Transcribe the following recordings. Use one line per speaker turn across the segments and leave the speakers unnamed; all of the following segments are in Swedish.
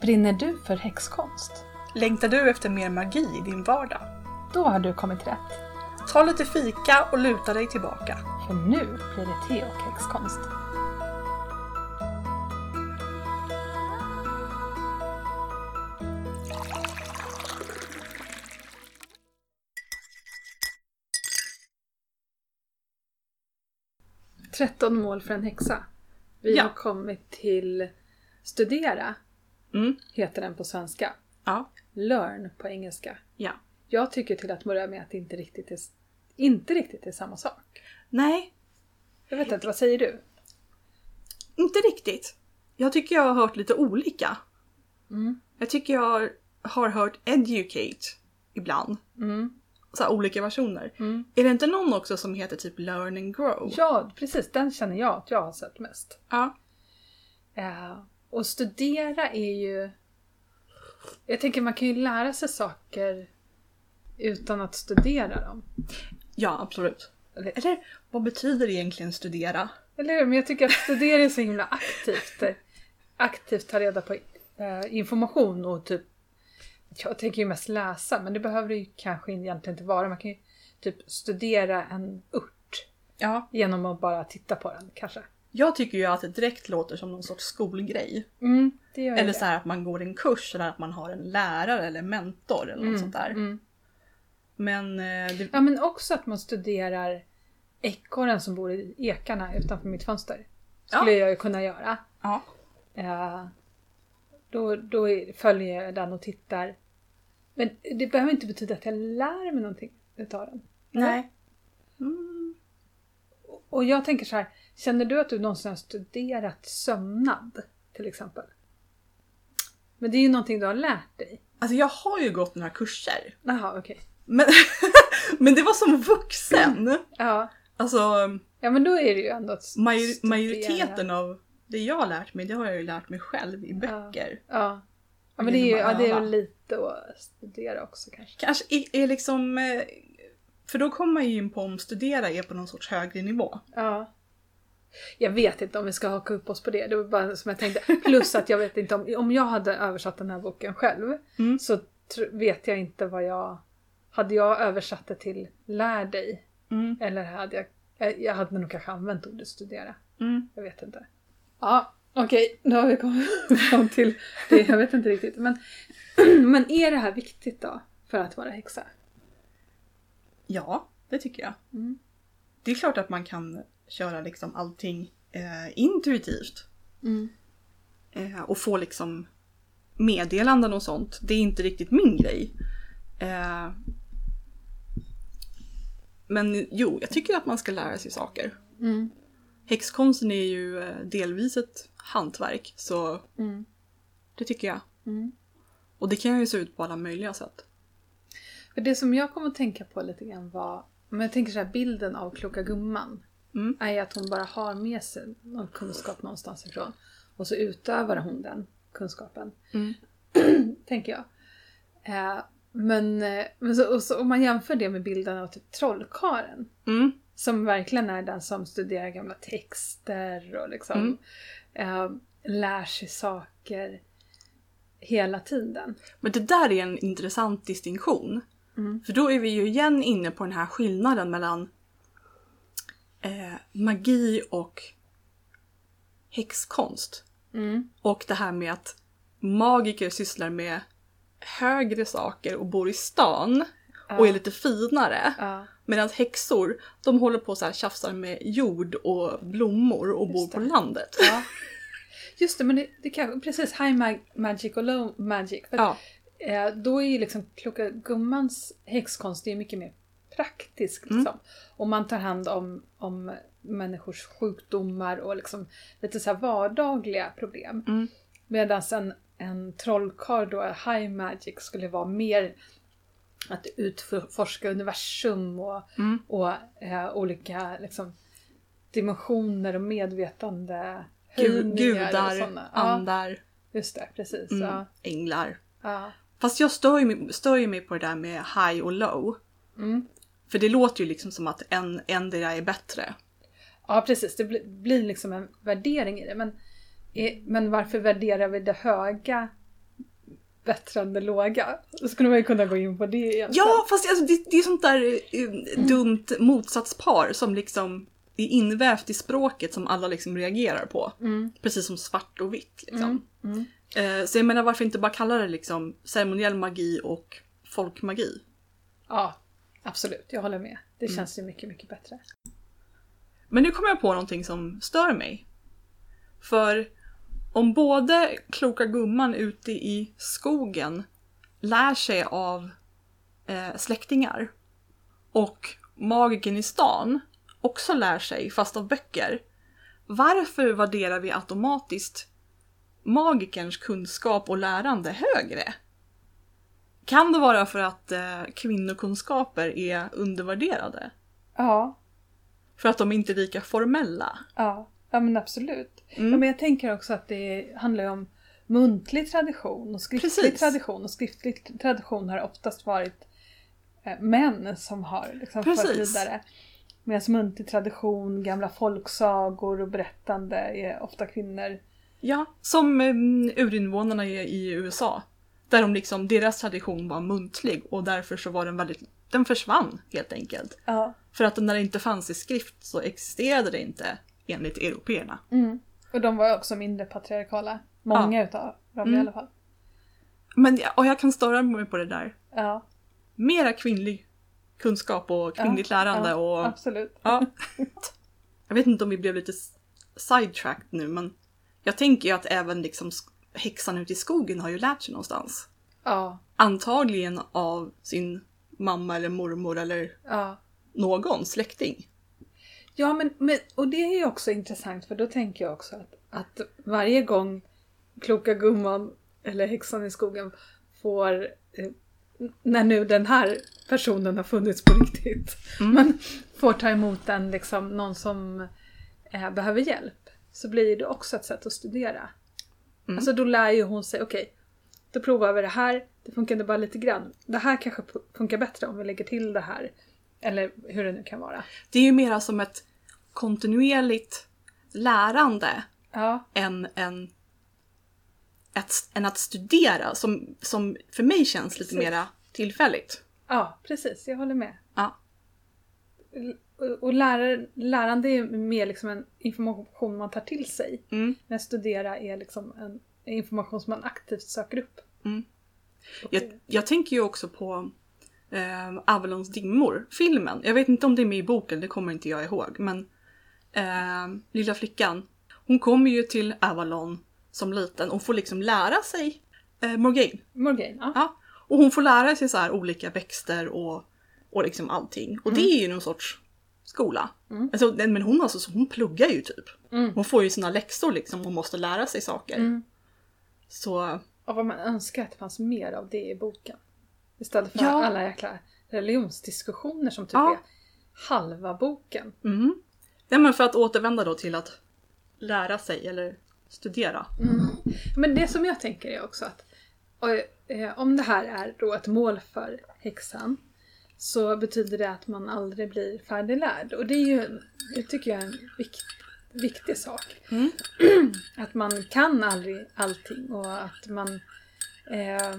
Brinner du för häxkonst?
Längtar du efter mer magi i din vardag?
Då har du kommit rätt.
Ta lite fika och luta dig tillbaka.
För nu blir det te och häxkonst. Tretton mål för en häxa. Vi
Ja.
har kommit till studera,
Mm.
heter den på svenska.
Ja.
Learn på engelska.
ja.
Jag tycker till att börja med att det inte riktigt är, inte riktigt är samma sak.
Nej,
Jag vet inte, vad säger du?
inte riktigt. Jag tycker jag har hört lite olika.
Mm.
Jag tycker jag har hört educate ibland.
Mm.
Så här olika versioner.
Mm.
Är det inte någon också som heter typ learn and grow?
Ja, precis. Den känner jag att jag har sett mest.
Ja.
Eh, och studera är ju... Jag tänker man kan ju lära sig saker utan att studera dem.
ja, absolut. Eller, eller vad betyder egentligen studera?
Eller hur? Men jag tycker att studera är så himla aktivt. eh, Aktivt ta reda på eh, information och typ... Jag tänker ju mest läsa, men det behöver det ju kanske egentligen inte vara. Man kan ju typ studera en ört
Ja.
genom att bara titta på den kanske.
Jag tycker ju att det direkt låter som någon sorts skolgrej.
Mm, det gör ju
Eller
det.
så här att man går en kurs eller att man har en lärare eller mentor eller något sånt där.
Mm.
Men eh, det,
Ja men också att man studerar ekorren som bor i ekarna utanför mitt fönster. Skulle
Ja.
jag ju kunna göra.
ja.
Eh, då, då är- följer jag den och tittar. Men det behöver inte betyda att jag lär mig någonting utav den.
Nej.
Och jag tänker så här, känner du att du någonsin har studerat sömnad till exempel? Men det är ju någonting du har lärt dig.
Alltså jag har ju gått några kurser.
Jaha, okej.
Men, men det var som vuxen.
Ja.
Alltså
ja, men då är det ju ändå att s-
major,
studera.
majoriteten av det jag har lärt mig det har jag ju lärt mig själv i böcker.
Ja. ja men
Genom
det är ju
att
ja, det är
öva.
ju lite att studera också kanske.
Kanske är, är liksom... eh, För då kommer man ju in på om studera är på någon sorts högre nivå.
Ja. Jag vet inte om vi ska haka upp oss på det. Det var bara som jag tänkte. Plus att jag vet inte om, om jag hade översatt den här boken själv
Mm.
så tr- vet jag inte vad jag... Hade jag översatt det till lär dig?
Mm.
Eller hade jag... eh, Jag hade nog kanske använt ordet studera.
Mm.
Jag vet inte. Ja, okej. Nu har vi kommit fram till det. Jag vet inte riktigt. Men, men är det här viktigt då? För att vara häxa?
Ja, det tycker jag.
Mm.
Det är klart att man kan köra liksom allting eh, intuitivt.
Mm.
Eh, och få liksom meddelanden och sånt. Det är inte riktigt min grej. Eh, men jo, jag tycker att man ska lära sig saker.
Mm.
Häxkonsten är ju eh, delvis ett hantverk, så
Mm.
det tycker jag.
Mm.
Och det kan ju se ut på alla möjliga sätt.
För det som jag kom att tänka på lite grann var, om jag tänker så här bilden av kloka gumman,
Mm.
är att hon bara har med sig någon kunskap någonstans ifrån. Och så utövar hon den kunskapen,
Mm.
tänker jag. Eh, men eh, men så, och så, om man jämför det med bilden av typ trollkaren
Mm.
som verkligen är den som studerar gamla texter och liksom
Mm.
eh, lär sig saker hela tiden.
Men det där är en intressant distinktion.
Mm.
För då är vi ju igen inne på den här skillnaden mellan eh, magi och häxkonst.
Mm.
Och det här med att magiker sysslar med högre saker och bor i stan och är lite finare.
Ja.
Medan häxor, de håller på så här tjafsar med jord och blommor och bor
Just
på
det.
landet.
Ja. Just det, men det, det kanske, precis, high mag- magic och low magic. För, att,
Ja.
eh, då är ju liksom kloka gummans häxkonst det är mycket mer praktisk.
Mm.
Liksom. Och man tar hand om, om människors sjukdomar och liksom lite så här vardagliga problem.
Mm.
Medan en, en trollkarl då, high magic, skulle vara mer att utforska universum och,
Mm.
och eh, olika liksom, dimensioner och medvetande
Gu-
och
Gudar,
sådana. Ja,
andar,
just det, precis.
mm,
Ja,
änglar.
ja.
Fast jag stör ju, mig- stör ju mig på det där med high och low.
Mm.
För det låter ju liksom som att en, endera är bättre.
ja, precis. Det blir, blir liksom en värdering i det. Men, eh, men varför värderar vi det höga bättrande låga. Då skulle man ju kunna gå in på det egentligen.
Ja, fast alltså, det, det är sånt där eh, dumt motsatspar som liksom är invävt i språket som alla liksom reagerar på.
Mm.
Precis som svart och vitt. Liksom.
Mm. Mm.
Eh, så jag menar varför inte bara kalla det liksom ceremoniell magi och folkmagi?
Ja, absolut. Jag håller med. Det känns ju mycket, mycket bättre.
Men nu kommer jag på någonting som stör mig. För om både kloka gumman ute i skogen lär sig av eh, släktingar och magiken i stan också lär sig, fast av böcker, varför värderar vi automatiskt magikerns kunskap och lärande högre? Kan det vara för att eh, kvinnokunskaper är undervärderade?
Ja,
För att de inte är lika formella?
ja. ja men absolut.
Mm.
Ja, men jag tänker också att det handlar ju om muntlig tradition och skriftlig
Precis.
tradition. Och skriftlig tradition har oftast varit eh, män som har liksom fört
Precis.
vidare. Medan muntlig tradition, gamla folksagor och berättande är ofta kvinnor.
Ja, som um, urinvånarna i, i USA. Där de liksom, deras tradition var muntlig och därför så var den väldigt, den försvann helt enkelt.
Ja.
För att när det inte fanns i skrift så existerade det inte enligt européerna.
Mm. Och de var också mindre patriarkala. Många utav dem i
Mm.
alla fall.
Men jag- och jag kan störa mig på det där.
Ja,
Mera kvinnlig kunskap och kvinnligt lärande
ja,
och...
absolut.
Ja. Jag vet inte om vi blev lite s- sidetracked nu men jag tänker ju att även liksom sk- häxan ute i skogen har ju lärt sig någonstans.
Ja,
Antagligen av sin mamma eller mormor eller
ja.
någon släkting.
Ja, men, men och det är ju också intressant för då tänker jag också att, att varje gång kloka gumman eller häxan i skogen får, eh, när nu den här personen har funnits på riktigt, men får ta emot en, liksom, någon som eh, behöver hjälp, så blir det också ett sätt att studera.
Mm.
Alltså då lär ju hon sig, okej, då provar vi det här, det funkade bara lite grann. Det här kanske pu- funkar bättre om vi lägger till det här. Eller hur det nu kan vara.
Det är ju mera som ett kontinuerligt lärande
Ja,
än, än, ett, än att studera som, som för mig känns lite mera tillfälligt.
Ja, precis. Jag håller med.
Ja.
L- Och och lärare, lärande är mer liksom en information man tar till sig.
Mm.
Men studera är liksom en information som man aktivt söker upp.
Mm. Jag, jag tänker ju också på eh, Avalons dimmor, filmen. Jag vet inte om det är med i boken, det kommer inte jag ihåg. Men eh, lilla flickan, hon kommer ju till Avalon som liten och får liksom lära sig eh, Morgaine.
Morgane, ja.
Ja. Och hon får lära sig så här olika växter och, och liksom allting. Och det är ju någon sorts skola.
Mm.
Alltså, nej, men hon, alltså, så hon pluggar ju typ.
Mm.
Hon får ju sina läxor liksom och måste lära sig saker.
Mm.
Så
Och vad man önskar att det fanns mer av det i boken. Istället för
Ja.
alla jäkla religionsdiskussioner som typ
Ja.
är halva boken.
Mm. Nej, men för att återvända då till att lära sig eller studera.
Men det som jag tänker är också att och, eh, om det här är då ett mål för häxan så betyder det att man aldrig blir färdiglärd. Och det är ju, det tycker jag är en vikt, viktig sak.
Mm.
Att man kan aldrig allting och att man eh,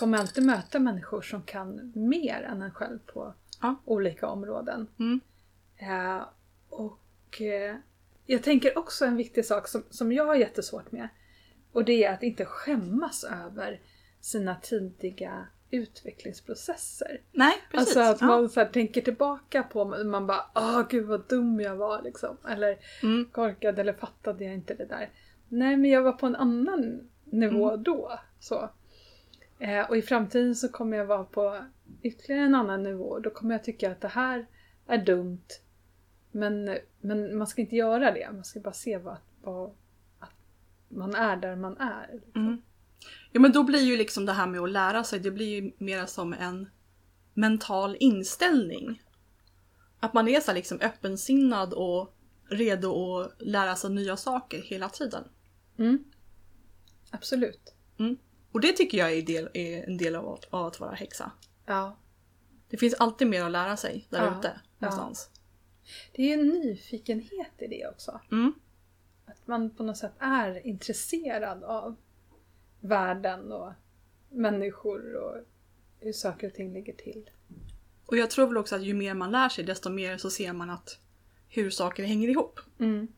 kommer alltid möta människor som kan mer än en själv på
Ja.
olika områden.
Mm.
Eh, och eh, jag tänker också en viktig sak som, som jag har jättesvårt med. Och det är att inte skämmas över sina tidiga utvecklingsprocesser.
Nej, precis.
Alltså att
ja.
man så här, tänker tillbaka på, man bara åh gud vad dum jag var liksom. Eller
Mm.
korkad eller fattade jag inte det där. Nej men jag var på en annan nivå då. Så. Eh, och i framtiden så kommer jag vara på ytterligare en annan nivå. Då kommer jag tycka att det här är dumt. Men, men man ska inte göra det. Man ska bara se vad, vad, att man är där man är. Liksom.
Mm. Ja, men då blir ju liksom det här med att lära sig, det blir ju mera som en mental inställning. Att man är så här liksom öppensinnad och redo att lära sig nya saker hela tiden.
Mm. Absolut.
Mm. Och det tycker jag är, del, är en del av, att- av att vara häxa.
Ja.
Det finns alltid mer att lära sig där
Ja,
ute
ja.
någonstans.
Det är ju en nyfikenhet i det också.
Mm.
Att man på något sätt är intresserad av världen och människor och hur saker och ting ligger till.
Och jag tror väl också att ju mer man lär sig desto mer så ser man att hur saker hänger ihop.
Mm.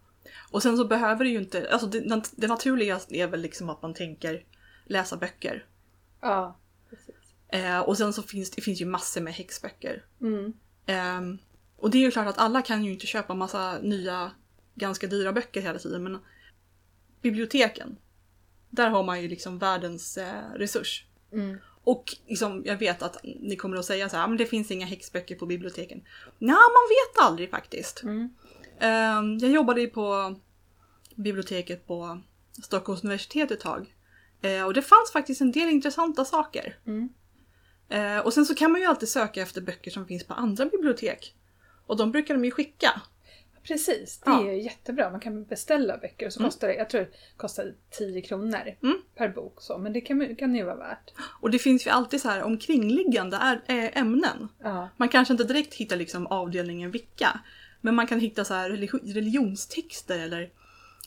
Och sen så behöver det ju inte, alltså det, nat- det naturliga är väl liksom att man tänker läsa böcker.
Ja, precis.
Eh, och sen så finns det finns ju massor med häxböcker.
Mm.
Ehm, och det är ju klart att alla kan ju inte köpa massa nya, ganska dyra böcker hela tiden men biblioteken, där har man ju liksom världens eh, resurs.
Mm.
Och liksom, jag vet att ni kommer att säga så här, "Ah, men det finns inga häxböcker på biblioteken. Nej, man vet aldrig faktiskt.
Mm.
Ehm, jag jobbade ju på biblioteket på Stockholms universitet ett tag. Eh, och det fanns faktiskt en del intressanta saker.
Mm.
Eh, och sen så kan man ju alltid söka efter böcker som finns på andra bibliotek. Och de brukar de ju skicka.
Precis, det
Ja.
är ju jättebra. Man kan beställa böcker och så
Mm.
kostar det, jag tror det kostar 10 kronor
Mm.
per bok. Så. Men det kan, man- kan ju vara värt.
Och det finns ju alltid så här omkringliggande är, eh, ämnen.
Ja.
Man kanske inte direkt hittar liksom avdelningen vicka. Men man kan hitta så här religi- religionstexter eller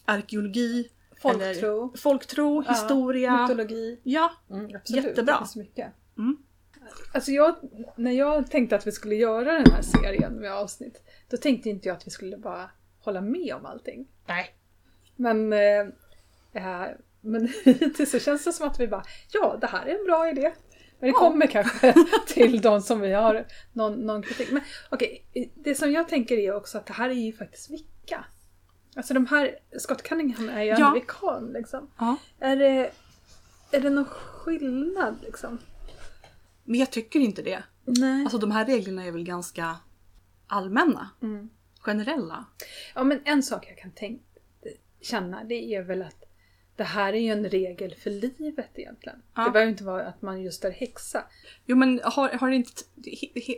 arkeologi.
Folktro.
Eller folktro,
Ja,
historia.
Mytologi.
Ja,
Mm, absolut.
Jättebra.
Det finns mycket.
Mm.
Alltså jag, när jag tänkte att vi skulle göra den här serien med avsnitt, då tänkte inte jag att vi skulle bara hålla med om allting.
Nej.
Men, eh, eh, men hittills så känns det som att vi bara, ja det här är en bra idé. Men det
Ja.
kommer kanske till de som vi har någon, någon kritik. Men okej, det som jag tänker är också att det här är ju faktiskt vicka. Alltså de här, Scott Cunningham är ju
Ja.
amerikan liksom.
Ja.
Är det, är det någon skillnad liksom?
Men jag tycker inte det.
Nej.
Alltså de här reglerna är väl ganska allmänna,
Mm.
generella.
Ja men en sak jag kan tänk- känna det är väl att det här är ju en regel för livet egentligen.
Ja.
Det behöver inte vara att man just är häxa.
Jo men har, har det inte... He, he,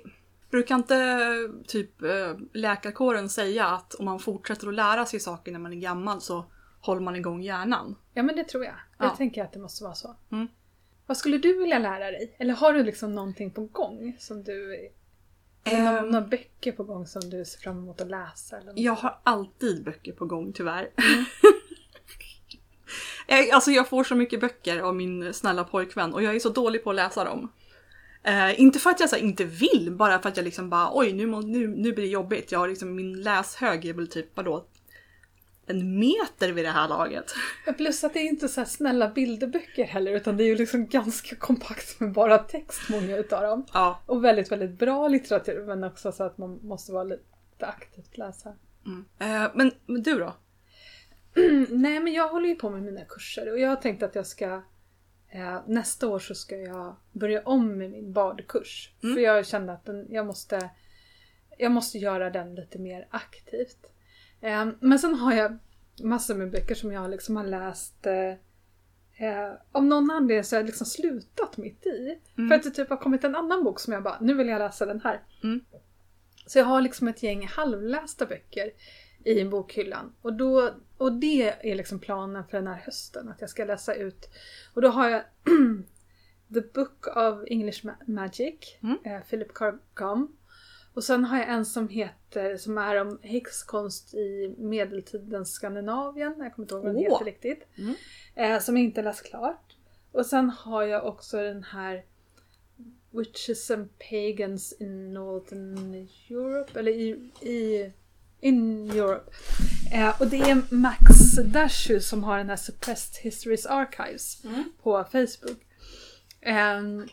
brukar inte eh, typ eh, läkarkåren säga att om man fortsätter att lära sig saker när man är gammal så håller man igång hjärnan?
Ja men det tror jag.
Ja.
Jag tänker att det måste vara så.
Mm.
Vad skulle du vilja lära dig? Eller har du liksom någonting på gång som du... eller
Ehm.
någon, några böcker på gång som du ser fram emot att läsa? Eller något?
Jag har alltid böcker på gång tyvärr. Eh, alltså jag får så mycket böcker av min snälla pojkvän och jag är så dålig på att läsa dem. Eh, inte för att jag så här, inte vill, bara för att jag liksom bara oj nu, må- nu, nu blir det jobbigt. Jag har liksom, min läshög är väl typ vadå, en meter vid det här laget.
Plus att det är inte så här snälla bilderböcker heller utan det är ju liksom ganska kompakt med bara text många utav dem.
Ja,
Och väldigt, väldigt bra litteratur men också så att man måste vara lite aktivt läsa.
Mm. Eh, men, men du då?
Nej men jag håller ju på med mina kurser och jag har tänkt att jag ska eh, Nästa år så ska jag börja om med min badkurs.
Mm.
För jag kände att den, jag, måste, jag måste göra den lite mer aktivt. Eh, men sen har jag massor med böcker som jag liksom har läst eh, Eh, av någon anledning så har jag liksom slutat mitt i.
Mm.
För att det typ har kommit en annan bok som jag bara, nu vill jag läsa den här.
Mm.
Så jag har liksom ett gäng halvlästa böcker i bokhyllan. Och, då, och det är liksom planen för den här hösten, att jag ska läsa ut. Och då har jag The Book of English Ma- Magic,
Mm.
eh, Philip K. Gum. Och sen har jag en som heter, som är om häxkonst i medeltidens Skandinavien, jag kommer inte ihåg vad den
Åh.
heter riktigt.
Mm.
Eh, som jag inte läst klart. Och sen har jag också den här Witches and Pagans in Northern Europe, eller i, i in Europe. Eh, och det är Max Dashu som har den här Suppressed Histories Archives på Facebook. Ehm,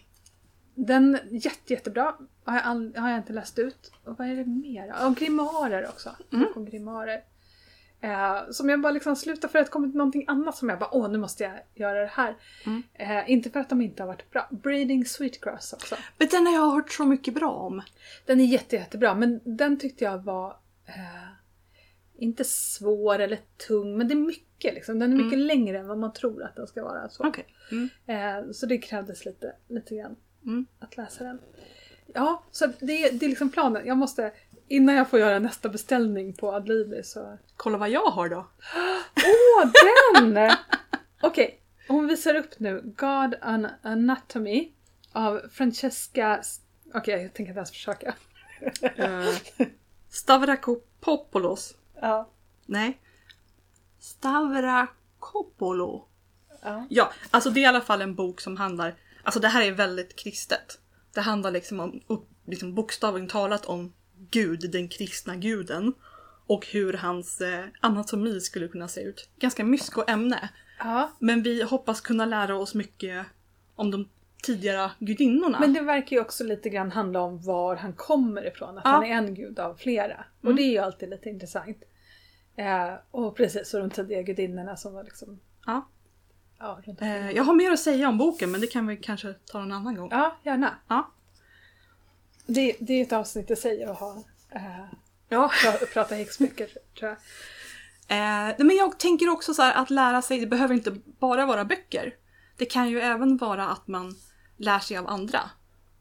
den är jätte, jättebra. Har jag, all, har jag inte läst ut. Och vad är det mer? Ja, Och grimarer också. Och grimarer. Eh, som jag bara liksom slutar för att det kommit någonting annat som jag bara åh nu måste jag göra det här.
Mm.
Eh, inte för att de inte har varit bra. Breeding Sweetgrass också.
Men den har jag hört så mycket bra om.
Den är jätte, jättebra men den tyckte jag var eh, inte svår eller tung men det är mycket liksom. Den är mycket längre än vad man tror att den ska vara. Så.
Mm. Okej. Mm.
Eh, så det krävdes lite, lite grann
Mm.
att läsa den. Ja, så det, det är liksom planen. Jag måste, innan jag får göra nästa beställning på Adlibri så...
Kolla vad jag har då.
Åh, den! Okej, hon visar upp nu God An Anatomy av Francesca... S- Okej, jag tänker inte ens försöka.
Eh, Stavrakopoulos.
Ja.
Nej. Stavrakopoulou.
ja.
Ja, alltså det är i alla fall en bok som handlar Alltså det här är väldigt kristet. Det handlar liksom om, upp, liksom bokstavligen talat om Gud, den kristna guden. Och hur hans eh, anatomi skulle kunna se ut. Ganska mysko ämne.
Ja.
Men vi hoppas kunna lära oss mycket om de tidigare gudinnorna.
Men det verkar ju också lite grann handla om var han kommer ifrån. Att
Ja. Mm.
han är en gud av flera. Och det är ju alltid lite intressant. Eh, och precis, och de tidiga gudinnorna som var liksom...
Ja.
Ja, runt omkring.
Eh, jag har mer att säga om boken men det kan vi kanske ta någon annan gång.
ja gärna.
Ja.
Det, det är ett avsnitt i sig att ha. Eh,
Ja.
pra- prata häxböcker tror jag.
Eh, nej, men jag tänker också så här att lära sig, det behöver inte bara vara böcker. Det kan ju även vara att man lär sig av andra.
Mm.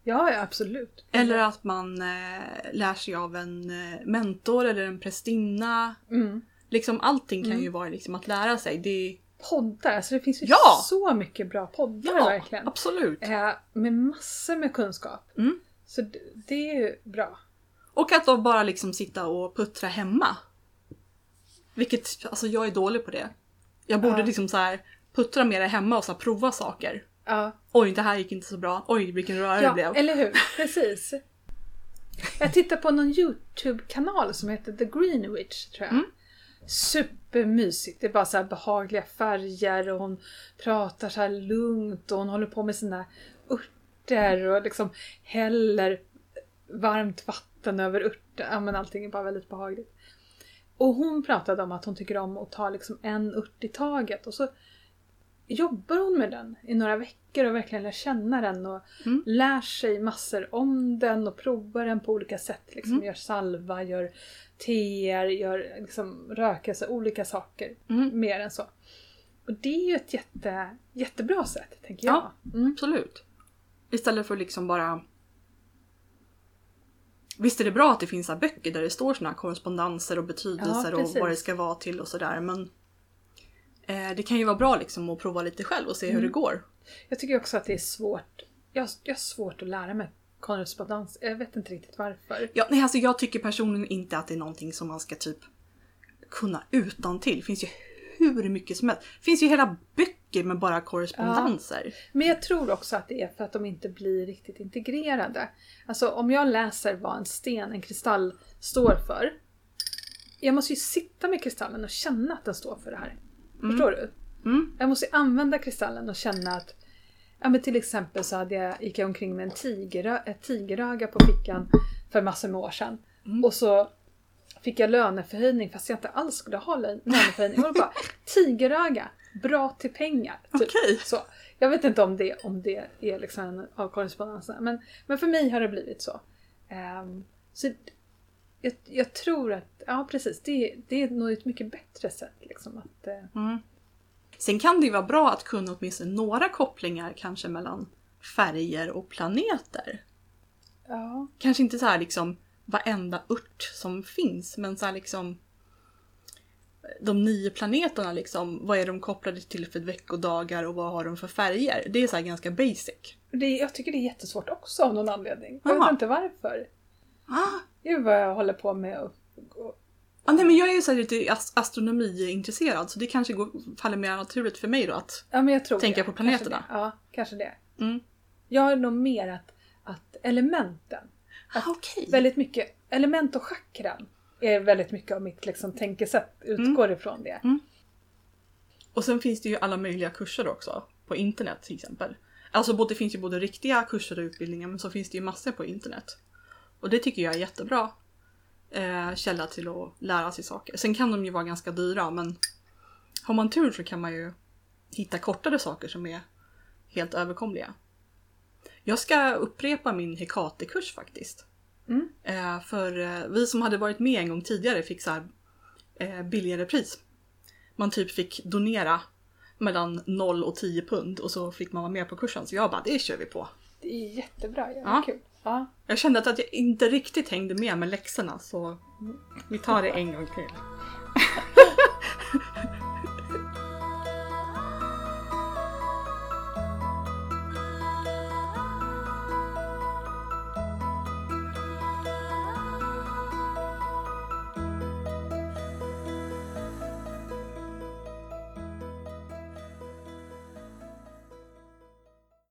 Ja, ja absolut.
Eller att man eh, lär sig av en eh, mentor eller en prästinna.
Mm.
Liksom allting kan ju vara liksom att lära sig. Det
Poddar, alltså det finns ju
Ja!
så mycket bra poddar verkligen.
absolut.
Eh, med massor med kunskap.
Mm.
Så det, det är ju bra.
Och att då bara liksom sitta och puttra hemma. Vilket, alltså jag är dålig på det. Jag borde
Ja.
liksom så här puttra mer hemma och så här prova saker.
Ja.
Oj, det här gick inte så bra. Oj, vilken röra det
Ja,
blev.
eller hur? Precis. Jag tittar på någon YouTube-kanal som heter The Green Witch, tror jag.
Mm.
Supermysigt. Det är bara så här behagliga färger och hon pratar så här lugnt och hon håller på med sina örter och liksom häller varmt vatten över örter. Ja, men allting är bara väldigt behagligt. Och hon pratade om att hon tycker om att ta liksom en ört i taget och så jobbar hon med den i några veckor och verkligen lär känna den och
Mm.
lär sig massor om den och provar den på olika sätt. Liksom,
Mm.
Gör salva, gör teer, gör liksom rökelse, olika saker.
Mm.
Mer än så. Och det är ju ett jätte, jättebra sätt, tänker jag.
Ja.
Mm.
Absolut. Istället för liksom bara... Visst är det bra att det finns så här böcker där det står såna här korrespondenser och betydelser
Ja,
och
precis.
vad det ska vara till och sådär men... Eh, det kan ju vara bra liksom att prova lite själv och se
Mm.
hur det går.
Jag tycker också att det är svårt. Jag, jag har svårt att lära mig korrespondens. Jag vet inte riktigt varför.
Ja, nej, alltså jag tycker personligen inte att det är någonting som man ska typ kunna utan till. Det finns ju hur mycket som helst. Det finns ju hela böcker med bara korrespondenser.
Men jag tror också att det är för att de inte blir riktigt integrerade. Alltså om jag läser vad en sten, en kristall, står för. Jag måste ju sitta med kristallen och känna att den står för det här. Förstår du?
Mm.
Jag måste ju använda kristallen och känna att Ja men till exempel så hade jag, gick jag omkring med en tiger, ett tigeröga på fickan för massor med år sedan. Och så fick jag löneförhöjning fast jag inte alls skulle ha lön- löneförhöjning. Jag var bara, tigeröga, bra till pengar. Typ.
Okej.
Så, jag vet inte om det, om det är liksom en av korrespondenserna. Men, men för mig har det blivit så. Ehm, så d- jag, jag tror att, ja precis, det, det är nog ett mycket bättre sätt. Liksom, att, eh,
Sen kan det ju vara bra att kunna åtminstone några kopplingar kanske mellan färger och planeter.
ja.
Kanske inte så här liksom varenda ört som finns, men så här liksom de nio planeterna liksom, vad är de kopplade till för veckodagar och vad har de för färger? Det är så här ganska basic.
det, jag tycker det är jättesvårt också av någon anledning. Jag
Jaha.
vet inte varför.
Ah,
Gud vad jag håller på med och, och
ah, nej men jag är ju så här lite ast- astronomiintresserad så det kanske går, faller mer naturligt för mig då att...
Ja, men jag tror
Tänka
det.
på planeterna.
Kanske det. Ja, kanske det.
Mm.
Jag är nog mer att, att elementen. Att
Ah, okej.
Väldigt mycket, element och chakran är väldigt mycket av mitt liksom, tänkesätt utgår ifrån det.
Och sen finns det ju alla möjliga kurser också på internet till exempel. Alltså både, det finns ju både riktiga kurser och utbildningar men så finns det ju massor på internet. Och det tycker jag är jättebra eh, källa till att lära sig saker. Sen kan de ju vara ganska dyra men har man tur så kan man ju hitta kortare saker som är helt överkomliga. Jag ska upprepa min Hekate-kurs faktiskt.
Mm.
Eh, för eh, vi som hade varit med en gång tidigare fick så här, eh, billigare pris man typ fick donera mellan 0 och 10 pund och så fick man vara med på kursen. Så jag bara, det kör vi på.
Det är jättebra, jävla
Ja.
kul. Ja.
Jag kände att jag inte riktigt hängde med med läxorna så vi tar det en gång till.